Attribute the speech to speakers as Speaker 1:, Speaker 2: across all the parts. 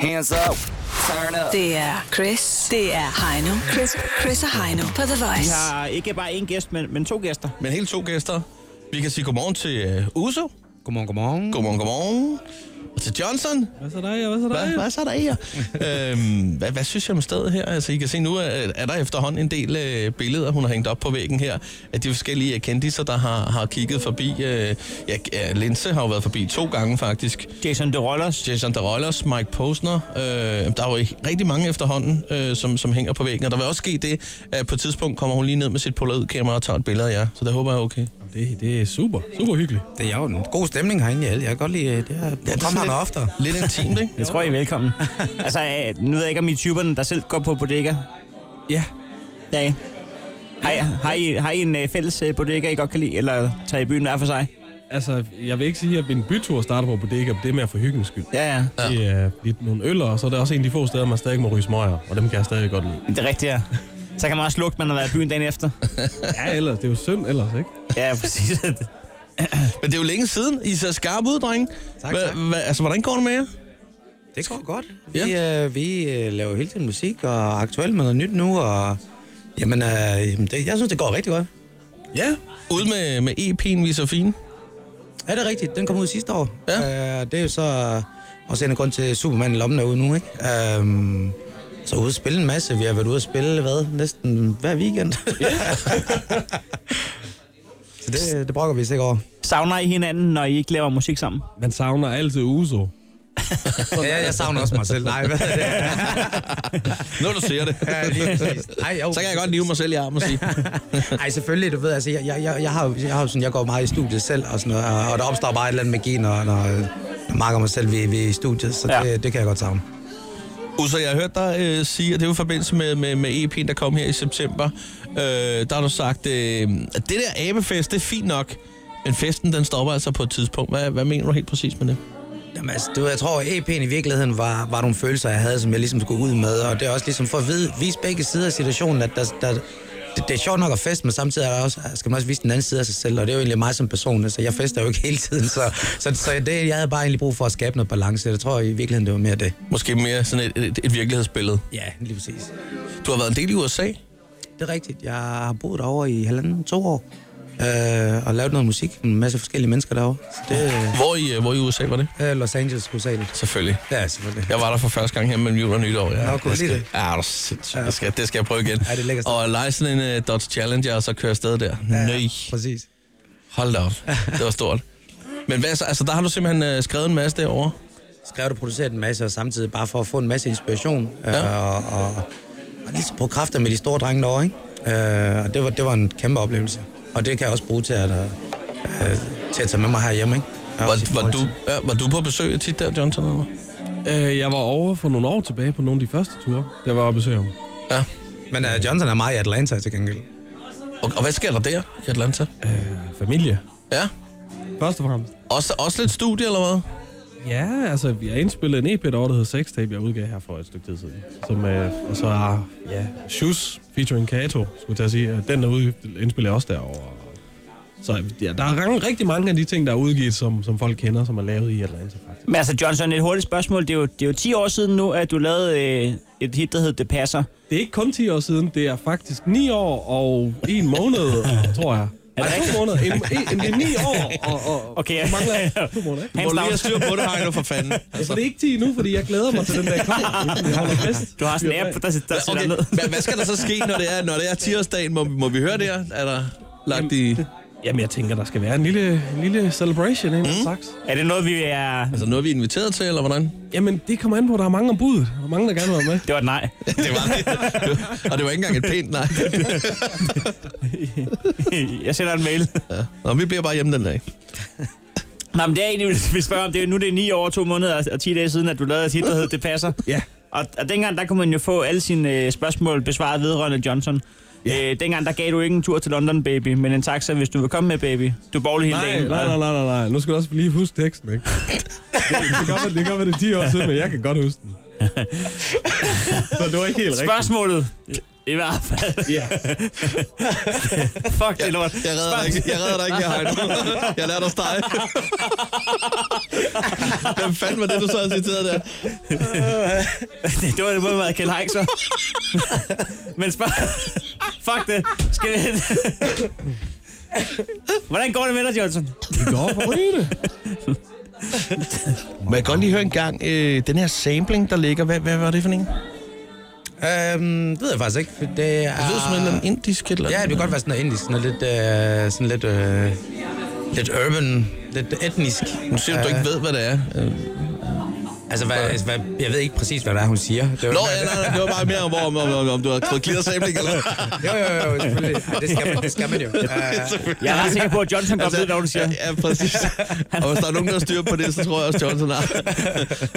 Speaker 1: Hands up. Turn up.
Speaker 2: Det er Chris. Det er Heino. Chris, Chris og Heino på The
Speaker 3: Vi
Speaker 2: Voice.
Speaker 3: har ikke bare én gæst, men, men to gæster.
Speaker 4: Men hele to gæster. Vi kan sige godmorgen til øh, Uso.
Speaker 3: Godmorgen, godmorgen.
Speaker 4: Godmorgen, godmorgen. Og til Johnson.
Speaker 5: Hvad så dig, og hvad så
Speaker 4: Hvad,
Speaker 5: dig?
Speaker 4: hvad så der i jer? øhm, hvad, hvad synes jeg om stedet her? Altså, I kan se nu, at er der efterhånden en del øh, billeder, hun har hængt op på væggen her, af de forskellige øh, kendiser, der har, har kigget forbi. Øh, ja, ja, Linse har jo været forbi to gange faktisk.
Speaker 3: Jason Derollers.
Speaker 4: Jason Derollers, Mike Posner. Øh, der er jo rigtig mange efterhånden, øh, som, som hænger på væggen. Og der vil også ske det, at på et tidspunkt kommer hun lige ned med sit polaroidkamera og tager et billede af jer. Så det håber jeg er okay.
Speaker 5: Det, det er super, super hyggeligt.
Speaker 6: Det er jo en god stemning herinde, jeg, jeg kan godt lide øh, det her. Ja,
Speaker 4: det er
Speaker 6: Kom her
Speaker 4: sådan
Speaker 6: noget
Speaker 4: lidt-
Speaker 6: oftere.
Speaker 4: Lidt intimt, ikke?
Speaker 3: Jeg tror, I er velkommen. altså, øh, nu ved jeg ikke, om I er typerne, der selv går på bodega.
Speaker 5: Ja.
Speaker 3: Ja, ja. Har, I, har, I, har I en øh, fælles øh, bodega, I godt kan lide, eller tager I byen hver for sig?
Speaker 5: Altså, jeg vil ikke sige, at min bytur starter på bodega, men det er mere for hyggens skyld.
Speaker 3: Ja, ja.
Speaker 4: Ja.
Speaker 5: Det er lidt nogle øller, og så er der også en af de få steder, man stadig må ryge smøger, og dem kan jeg stadig godt lide.
Speaker 3: Det er rigtigt, ja. Så kan man også lugte, man har været i byen dagen efter.
Speaker 5: Ja, ellers. Det er jo synd ellers, ikke?
Speaker 3: Ja, præcis.
Speaker 4: Men det er jo længe siden. I ser skarpe ud, drenge.
Speaker 6: Tak,
Speaker 4: Hva-
Speaker 6: tak.
Speaker 4: hva- altså, hvordan går det med jer?
Speaker 6: Det går godt. Vi, øh, vi øh, laver hele tiden musik og er aktuelle med noget nyt nu, og jamen, øh, jamen det, jeg synes, det går rigtig godt.
Speaker 4: Ja. Ude med, med EP'en, vi er så fine.
Speaker 6: Ja, det er rigtigt. Den kom ud sidste år.
Speaker 4: Ja.
Speaker 6: Øh, det er jo så også en af grund til at Superman i lommen er ude nu, ikke? Øhm, så ude at spille en masse. Vi har været ude at spille, hvad? Næsten hver weekend. så det, det brokker vi sig ikke over.
Speaker 3: Savner I hinanden, når I ikke laver musik sammen?
Speaker 5: Man savner altid Uso.
Speaker 6: Ja, jeg savner også mig selv. Nej, hvad er det?
Speaker 4: Når du ser det.
Speaker 6: Ja, lige præcis. Ej, jo.
Speaker 4: så kan jeg godt nive mig selv i armen og sige.
Speaker 6: Ej, selvfølgelig, du ved, altså, jeg, jeg, jeg, jeg, har, jo- jeg, har jo sådan, jeg går meget i studiet selv, og, sådan noget, og- og der opstår bare et eller andet magi, når, når, når Mark og mig selv vi, vi er i studiet, så
Speaker 3: Ja.
Speaker 6: ja. det, det kan jeg godt savne.
Speaker 4: Uso, jeg har hørt dig øh, sige, at det var i forbindelse med, med, med EP'en, der kom her i september. Øh, der har du sagt, øh, at det der abefest, det er fint nok. Men festen, den stopper altså på et tidspunkt. Hvad, hvad mener du helt præcis med det?
Speaker 6: Jamen, altså, du, ved, jeg tror, at EP'en i virkeligheden var, var nogle følelser, jeg havde, som jeg ligesom skulle ud med, og det er også ligesom for at vide, vise begge sider af situationen, at der, der, det, det er sjovt nok at feste, men samtidig er der også, skal man også vise den anden side af sig selv, og det er jo egentlig mig som person, altså jeg fester jo ikke hele tiden, så, så, så det, jeg havde bare egentlig brug for at skabe noget balance, jeg tror i virkeligheden, det var mere det.
Speaker 4: Måske mere sådan et, et, et virkelighedsbillede.
Speaker 6: Ja, lige præcis.
Speaker 4: Du har været en del i USA.
Speaker 6: Det er rigtigt. Jeg har boet derovre i halvanden, to år. Øh, og lavet noget musik med en masse forskellige mennesker derovre. Så det
Speaker 4: Hvor i, øh, hvor i USA var det?
Speaker 6: er øh, Los Angeles, USA.
Speaker 4: Selvfølgelig.
Speaker 6: Ja, selvfølgelig.
Speaker 4: Jeg var der for første gang her mellem jul og nytår. Ja,
Speaker 6: Nå, kunne
Speaker 4: det
Speaker 6: du lide
Speaker 4: skal, ja, det er sindssygt. Det skal, det skal jeg prøve igen.
Speaker 6: Ja, det er lækkert.
Speaker 4: Og lege sådan en uh, Dodge Challenger, og så køre afsted der. Ja. Nøj,
Speaker 6: Præcis.
Speaker 4: hold da op. Det var stort. Men hvad så? Altså, der har du simpelthen uh, skrevet en masse derovre.
Speaker 6: Skrev og produceret en masse, og samtidig bare for at få en masse inspiration.
Speaker 4: Ja.
Speaker 6: Ja. Øh, og, og, og ligesom på kræfter med de store drenge derovre, ikke? Øh, og det var, det var en kæmpe oplevelse. Og det kan jeg også bruge til at, øh, til at tage med mig herhjemme, ikke? Og også i
Speaker 4: Var, var,
Speaker 6: forhold
Speaker 4: du,
Speaker 6: til-
Speaker 4: ja, var du på besøg tit der, Johnson? Eller? hvad?
Speaker 5: Øh, jeg var over for nogle år tilbage på nogle af de første ture, der var jeg besøg om.
Speaker 4: Ja.
Speaker 6: Men øh, Johnson er meget i Atlanta til gengæld.
Speaker 4: Og, og hvad sker der der i Atlanta?
Speaker 5: Øh, familie.
Speaker 4: Ja.
Speaker 5: Først og fremmest.
Speaker 4: Også, også lidt studie, eller hvad?
Speaker 5: Ja, altså, vi har indspillet en EP derovre, der hedder Sex Tape, jeg udgav her for et stykke tid siden. Som, øh, og så er, ja, Shoes featuring Kato, skulle jeg til at sige. at Den er ude, indspiller jeg også derovre. Så ja, der er rang- rigtig mange af de ting, der er udgivet, som, som folk kender, som er lavet i Atlanta, faktisk.
Speaker 3: Men altså, Johnson, et hurtigt spørgsmål. Det er jo, det er jo 10 år siden nu, at du lavede øh, et hit, der hed Det Passer.
Speaker 5: Det er ikke kun 10 år siden, det er faktisk 9 år og en måned, tror jeg. Er det to måneder? En, en, en, en, 9 år og, og,
Speaker 3: Okay.
Speaker 5: og mangler to måneder, ikke?
Speaker 4: Du må lige have styr på det, Heino, for fanden.
Speaker 5: Altså, det er ikke 10 nu, fordi jeg glæder mig til den dag kommer. Vi holder fest.
Speaker 3: Du har sådan en app, der, der sætter
Speaker 4: Okay,
Speaker 3: ned.
Speaker 4: hvad, hvad skal der så ske, når det er, når det er tirsdagen? Må, må vi høre det her? Er der lagt i...
Speaker 5: Jamen, jeg tænker, der skal være en lille, en lille celebration, ikke? Mm. Slags.
Speaker 3: Er det noget, vi er...
Speaker 4: Altså, noget vi er inviteret til, eller hvordan?
Speaker 5: Jamen, det kommer an på, at der er mange om budet, og mange, der gerne vil være med.
Speaker 3: Det var et nej.
Speaker 4: Det var det. Og det var ikke engang et pænt nej.
Speaker 3: Jeg sender en mail.
Speaker 4: Nå, vi bliver bare hjemme den dag.
Speaker 3: Nej, men det er egentlig, vi spørger om. Det er, jo- nu er det 9 år, 2 måneder og 10 dage siden, at du lavede et hit, der hed Det Passer.
Speaker 5: Ja.
Speaker 3: Og, og dengang, der kunne man jo få alle sine øh, spørgsmål besvaret vedrørende Johnson. Ja. Øh, dengang, der gav du ikke en tur til London, baby, men en taxa, hvis du vil komme med, baby. Du er borgerlig hele
Speaker 5: Nej,
Speaker 3: dagen.
Speaker 5: nej, nej, nej, nej, nej. Nu skal du også lige huske teksten, ikke? Det, det, kan godt, være- det kan godt være, det er 10 år siden, men jeg kan godt huske den. Så det var ikke helt rigtigt.
Speaker 3: Spørgsmålet. I hvert fald.
Speaker 5: Ja.
Speaker 3: Fuck det lort.
Speaker 4: Jeg redder dig ikke, jeg redder dig ikke, jeg Heino. Jeg lader dig stege. Hvem fanden var det, du så havde citeret der?
Speaker 3: Det, det var det måde, man havde Kjell Haik, så. Men spørg... Fuck det. Skal vi... Hvordan går det med dig, Jolson?
Speaker 5: Det går for det.
Speaker 4: Må jeg godt lige høre en gang, øh, den her sampling, der ligger, hvad, hvad var det for en?
Speaker 6: Øhm, det ved jeg faktisk ikke. for Det er...
Speaker 4: Det lyder som en eller anden indisk et eller
Speaker 6: Ja, det kan godt være sådan noget indisk, sådan noget lidt, øh, sådan lidt, øh, lidt urban, lidt etnisk.
Speaker 4: Nu siger du, du ikke ved, hvad det er. Øh,
Speaker 6: Altså, hvad, altså hvad, jeg ved ikke præcis, hvad det er, hun siger. Det var,
Speaker 4: Nå, ja, nej, nej, det var bare mere om, om, om, om, om du har fået clear sampling, eller hvad?
Speaker 6: Jo, jo, jo, selvfølgelig. Ja, det, skal man, det skal man jo. Uh,
Speaker 4: Selvfølgelig.
Speaker 3: Jeg er ret sikker på, at Johnson godt ved, hvad hun siger.
Speaker 4: Altså, Ja, ja, præcis. Og hvis der er nogen, der styrer på det, så tror jeg også, Johnson har. Ej, det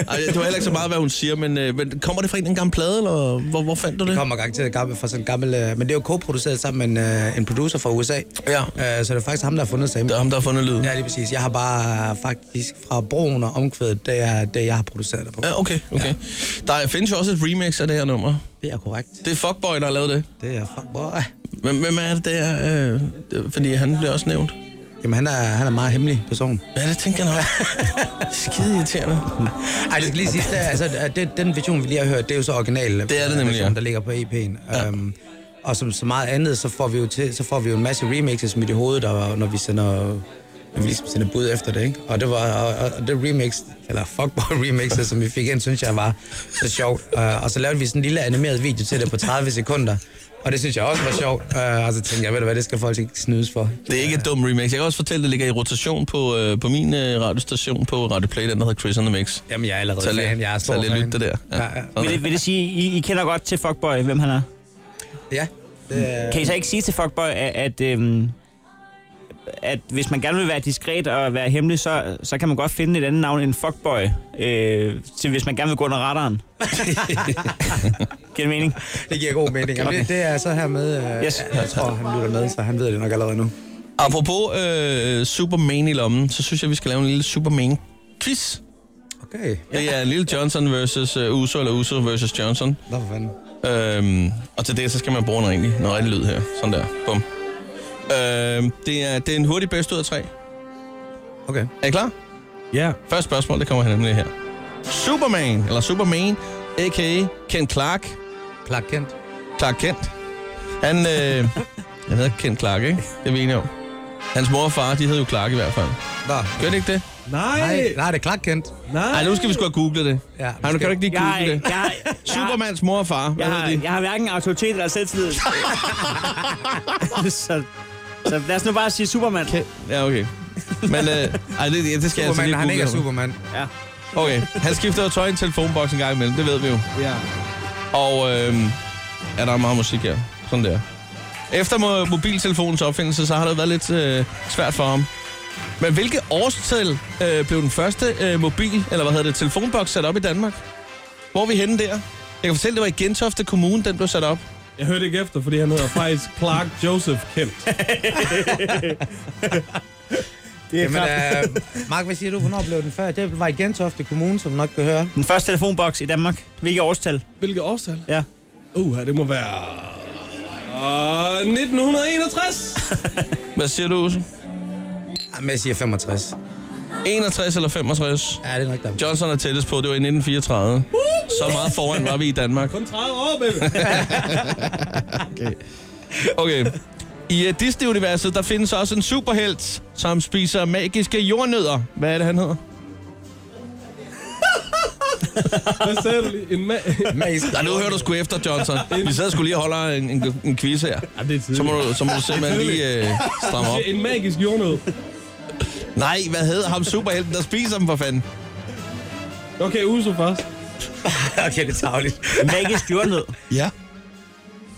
Speaker 4: var heller ikke så meget, hvad hun siger, men, øh, men kommer det fra en af en gammel plade, eller hvor, hvor fandt du det?
Speaker 6: det kommer garanteret gammel, fra sådan en gammel... Øh, men det er jo co-produceret sammen med en, øh, en producer fra USA.
Speaker 4: Ja.
Speaker 6: Øh, så det er faktisk ham, der har fundet sammen.
Speaker 4: Det er ham, der har fundet lyden.
Speaker 6: Ja, lige præcis. Jeg har bare øh, faktisk fra broen og omkvædet, det er det, jeg har produceret det på.
Speaker 4: Ja, okay, okay. Der findes jo også et remix af det her nummer.
Speaker 6: Det er korrekt.
Speaker 4: Det er Fuckboy, der har lavet det.
Speaker 6: Det er fuck boy.
Speaker 4: Hvem, hvem er det der? Øh, det- fordi han bliver også nævnt.
Speaker 6: Jamen, han er, han er en meget hemmelig person.
Speaker 4: Ja, det tænker jeg nok. Skide irriterende.
Speaker 6: Ej, det skal lige sige, det, er- altså, at det, den version, vi lige har hørt, det er jo så original.
Speaker 4: Det er det nemlig,
Speaker 6: version,
Speaker 4: ja.
Speaker 6: Der ligger på EP'en. Ja. Um, og som så meget andet, så får vi jo, til, så får vi jo en masse remixes smidt i hovedet, og, når vi sender når vi ligesom sender bud efter det, ikke? Og det var og, og- og det remix, eller fuckboy remixet, som vi fik ind, synes jeg var så sjovt. Uh, og så lavede vi sådan en lille animeret video til det på 30 sekunder, og det synes jeg også var sjovt. Uh, og så tænkte jeg, ved du hvad, det skal folk ikke snydes for.
Speaker 4: Det er ikke et dumt remix. Jeg kan også fortælle, at det ligger i rotation på, øh, på min øh, radiostation på Radio Play, den der hedder Chris and the Mix.
Speaker 6: Jamen, jeg er allerede
Speaker 4: Så lige-
Speaker 6: fan. Jeg er stor
Speaker 4: så lige
Speaker 6: fan.
Speaker 4: lyt det der. Ja.
Speaker 6: Ja, ja.
Speaker 3: Vil det, vil det sige, I, I kender godt til Fuckboy, hvem han er?
Speaker 6: ja. Det,
Speaker 3: Kan I så ikke sige til Fuckboy, at, at, øhm, at hvis man gerne vil være diskret og være hemmelig, så, så kan man godt finde et andet navn end Fuckboy, øh, til hvis man gerne vil gå under radaren? Giver det mening?
Speaker 6: Det giver god mening. Jamen, det, det er så her med. Øh,
Speaker 3: Yes.
Speaker 6: yes. Jeg tror, han lytter med, så han ved det nok allerede nu.
Speaker 4: Apropos øh, Superman i lommen, så synes jeg, vi skal lave en lille Superman-quiz.
Speaker 6: Okay.
Speaker 4: Det er en lille Johnson versus øh, Uso, eller Uso versus Johnson.
Speaker 6: Nå, for fanden.
Speaker 4: Øhm, og til det, så skal man bruge en rigtig, en rigtig lyd her. Sådan der. Bum. Øhm, det, er, det er en hurtig bedst ud af tre.
Speaker 6: Okay.
Speaker 4: Er I klar?
Speaker 5: Ja,
Speaker 4: Første spørgsmål, det kommer her nemlig her. Superman, eller Superman, a.k.a. Kent Clark.
Speaker 6: Clark Kent.
Speaker 4: Clark Kent. Han, øh, han hedder Kent Clark, ikke? Det er vi enige om. Hans mor og far, de hed jo Clark i hvert fald.
Speaker 6: Nå.
Speaker 4: Gør det ikke det?
Speaker 5: nej,
Speaker 6: Nej,
Speaker 5: nej,
Speaker 6: nej, det er Clark Kent.
Speaker 5: nej.
Speaker 4: Nej, nu skal vi sgu have googlet det.
Speaker 6: Ja,
Speaker 4: Ej, nu kan du ikke
Speaker 3: Jeg,
Speaker 4: lige google
Speaker 3: jeg,
Speaker 4: det.
Speaker 3: jeg, jeg,
Speaker 4: Supermans mor og far, hvad
Speaker 3: jeg,
Speaker 4: hedder
Speaker 3: har,
Speaker 4: de?
Speaker 3: jeg har hverken autoritet eller selvtillid. så, så lad os nu bare sige Superman.
Speaker 4: Ja, okay. Men øh, ej, det, ja, det skal jeg altså
Speaker 6: Superman,
Speaker 4: lige
Speaker 6: han
Speaker 4: google.
Speaker 6: ikke er
Speaker 4: ham.
Speaker 6: Superman.
Speaker 3: Ja.
Speaker 4: Okay, han skifter jo tøj i en telefonboks en gang imellem, det ved vi jo.
Speaker 5: Ja.
Speaker 4: Og øh, ja, der er meget musik her. Sådan der. Efter mo- mobiltelefonens opfindelse, så har det været lidt øh, svært for ham. Men hvilket årstal øh, blev den første øh, mobil, eller hvad hedder det, telefonboks sat op i Danmark? Hvor er vi henne der? Jeg kan fortælle, det var i Gentofte Kommune, den blev sat op.
Speaker 5: Jeg hørte ikke efter, fordi han hedder faktisk Clark Joseph Kent.
Speaker 6: Jamen, øh, Mark, hvad siger du? Hvornår blev den før? Det var i Gentofte Kommune, som du nok kan høre.
Speaker 3: Den første telefonboks i Danmark. Hvilket årstal?
Speaker 5: Hvilket årstal?
Speaker 3: Ja.
Speaker 5: Uh, det må være... Uh, 1961!
Speaker 4: Hvad siger du, Uso?
Speaker 6: Jamen, jeg siger 65.
Speaker 4: 61 eller 65?
Speaker 6: Ja, det er nok der.
Speaker 4: Johnson er tættest på, det var i 1934. Så meget foran var vi i Danmark.
Speaker 5: Kun 30 år, baby!
Speaker 4: Okay. I uh, Disney-universet, der findes også en superhelt, som spiser magiske jordnødder. Hvad er det, han hedder?
Speaker 5: Hvad sagde du lige? En ma-
Speaker 6: Magisk.
Speaker 4: Nej, nu hører du sgu efter, Johnson. Vi sad sgu lige og holder en, en, en quiz her.
Speaker 5: ja, det er tidligt.
Speaker 4: Så må du, så må du simpelthen lige øh, stramme op.
Speaker 5: En magisk jordnød.
Speaker 4: Nej, hvad hedder ham superhelten, der spiser dem for fanden?
Speaker 5: Okay, Uso først.
Speaker 6: okay, det er tageligt.
Speaker 3: Magisk jordnød.
Speaker 4: Ja.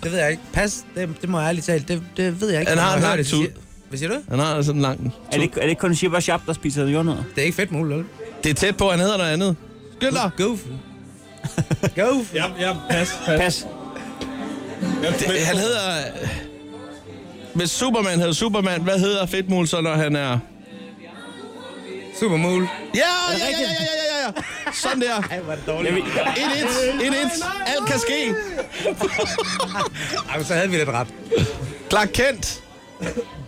Speaker 6: Det ved jeg ikke. Pas, det, det må jeg ærligt tale. Det, det ved jeg ikke.
Speaker 4: Han har
Speaker 6: Jeg
Speaker 4: en
Speaker 6: hører
Speaker 4: lang
Speaker 6: det, de
Speaker 4: tud.
Speaker 6: siger- Hvad siger du?
Speaker 4: Han har sådan en lang...
Speaker 3: Er det, ikke- er det ikke kun Shibba Shop, der spiser jordnød?
Speaker 6: Det er ikke fedt muligt, vel?
Speaker 4: Det er tæt på, han hedder noget andet. Skynd dig!
Speaker 6: Goofy. Goofy.
Speaker 5: Ja, ja, pas, pas.
Speaker 3: Pas.
Speaker 5: Ja, men-
Speaker 4: Det, han hedder... Hvis Superman hedder Superman, hvad hedder Fedtmul så, når han er...
Speaker 6: Supermul.
Speaker 4: Ja, ja, ja, ja, ja, ja, ja, der. Sådan der.
Speaker 3: Jeg vil,
Speaker 4: 1-1. 1-1. Alt kan ske.
Speaker 6: Ej, men så havde vi lidt ret.
Speaker 4: Clark Kent.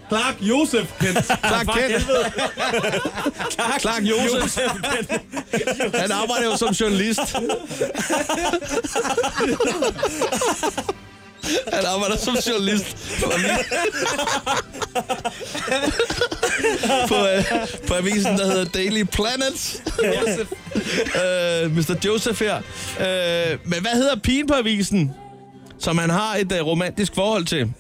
Speaker 5: Clark Josef Kent.
Speaker 4: Clark Kent. Clark Josef. Han arbejder jo som journalist. Han arbejder som journalist på, på, øh, på avisen, der hedder Daily Planet. øh, Mr. Joseph her. Øh, men hvad hedder pigen på avisen, som han har et øh, romantisk forhold til?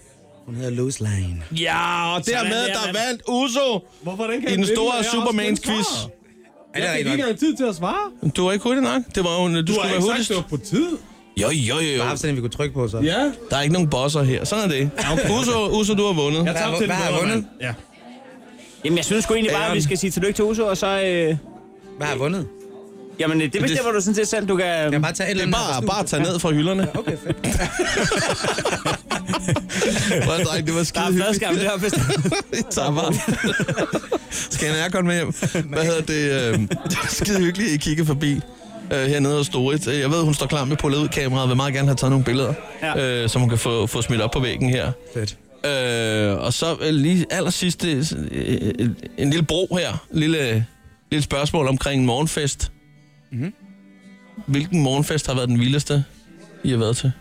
Speaker 6: Hun hedder Loose Line.
Speaker 4: Ja, og
Speaker 3: Sådan
Speaker 4: dermed
Speaker 3: der,
Speaker 4: der
Speaker 3: mand.
Speaker 4: vandt Uso
Speaker 5: Hvorfor den kan
Speaker 4: i den
Speaker 5: jeg
Speaker 4: store
Speaker 5: vinde, når jeg
Speaker 4: Supermans
Speaker 5: også kun
Speaker 4: quiz.
Speaker 5: svarer?
Speaker 6: Er det
Speaker 5: Jeg fik ikke
Speaker 6: rigtigt nok?
Speaker 5: engang tid til at svare.
Speaker 4: Du var ikke hurtig nok. Det var jo, du, du
Speaker 5: Du har
Speaker 4: skulle være
Speaker 5: ikke sagt,
Speaker 4: hurtigst.
Speaker 5: det var på tid.
Speaker 4: Jo, jo, jo, jo.
Speaker 6: Bare sådan, vi kunne trykke på, så.
Speaker 5: Ja.
Speaker 4: Der er ikke nogen bosser her. Sådan er det. Uso, Uso, du har vundet.
Speaker 5: Jeg tabte
Speaker 6: har-
Speaker 5: til den
Speaker 6: hvad har
Speaker 5: bedre
Speaker 6: vundet?
Speaker 5: mand. Ja.
Speaker 3: jamen, jeg synes sgu egentlig bare, at vi skal sige tillykke til Uso, og så... Øh,
Speaker 6: Hvad har vundet?
Speaker 3: jamen, øh, det bestemmer du sådan set selv. Du kan...
Speaker 6: Jeg bare tage et eller
Speaker 4: Det
Speaker 6: andet.
Speaker 4: er bare,
Speaker 6: her fra
Speaker 4: bare at tage ned fra hylderne.
Speaker 6: studiet. Okay, fedt.
Speaker 4: Hvor dreng, det var skide
Speaker 3: Der er
Speaker 4: hyggeligt.
Speaker 3: fladskærm deroppe.
Speaker 4: tager bare. Skal en aircon med hjem? Hvad hedder det? Øh, det er skide hyggeligt, at I kigger forbi øh, hernede hos Dorit. Øh, Jeg ved, hun står klar med pullet ud kameraet og vil meget gerne have taget nogle billeder,
Speaker 3: Ja.
Speaker 4: øh, som hun kan få, få smidt op på væggen her.
Speaker 6: fedt.
Speaker 4: Øh, og så øh, lige allersidst øh, øh, en lille bro her. En lille, øh, lille spørgsmål omkring en morgenfest.
Speaker 3: Mhm.
Speaker 4: Mm-hmm. Hvilken morgenfest har været den vildeste, I har været til?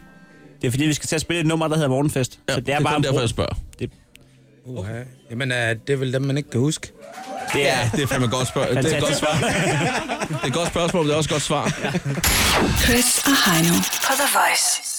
Speaker 3: Det er fordi, vi skal til at spille et nummer, der hedder Morgenfest.
Speaker 4: Ja,
Speaker 3: så det er bare
Speaker 4: kun
Speaker 3: en
Speaker 4: derfor,
Speaker 3: bro.
Speaker 4: jeg spørger.
Speaker 6: Uha. Jamen, øh, det er vel dem, man ikke kan huske.
Speaker 3: Det er
Speaker 4: det er fandme et godt spørgsmål. Det er et godt,
Speaker 3: fantastisk svar.
Speaker 4: det er et godt spørgsmål, men det er også et godt svar.
Speaker 2: Chris og Heino på The Voice.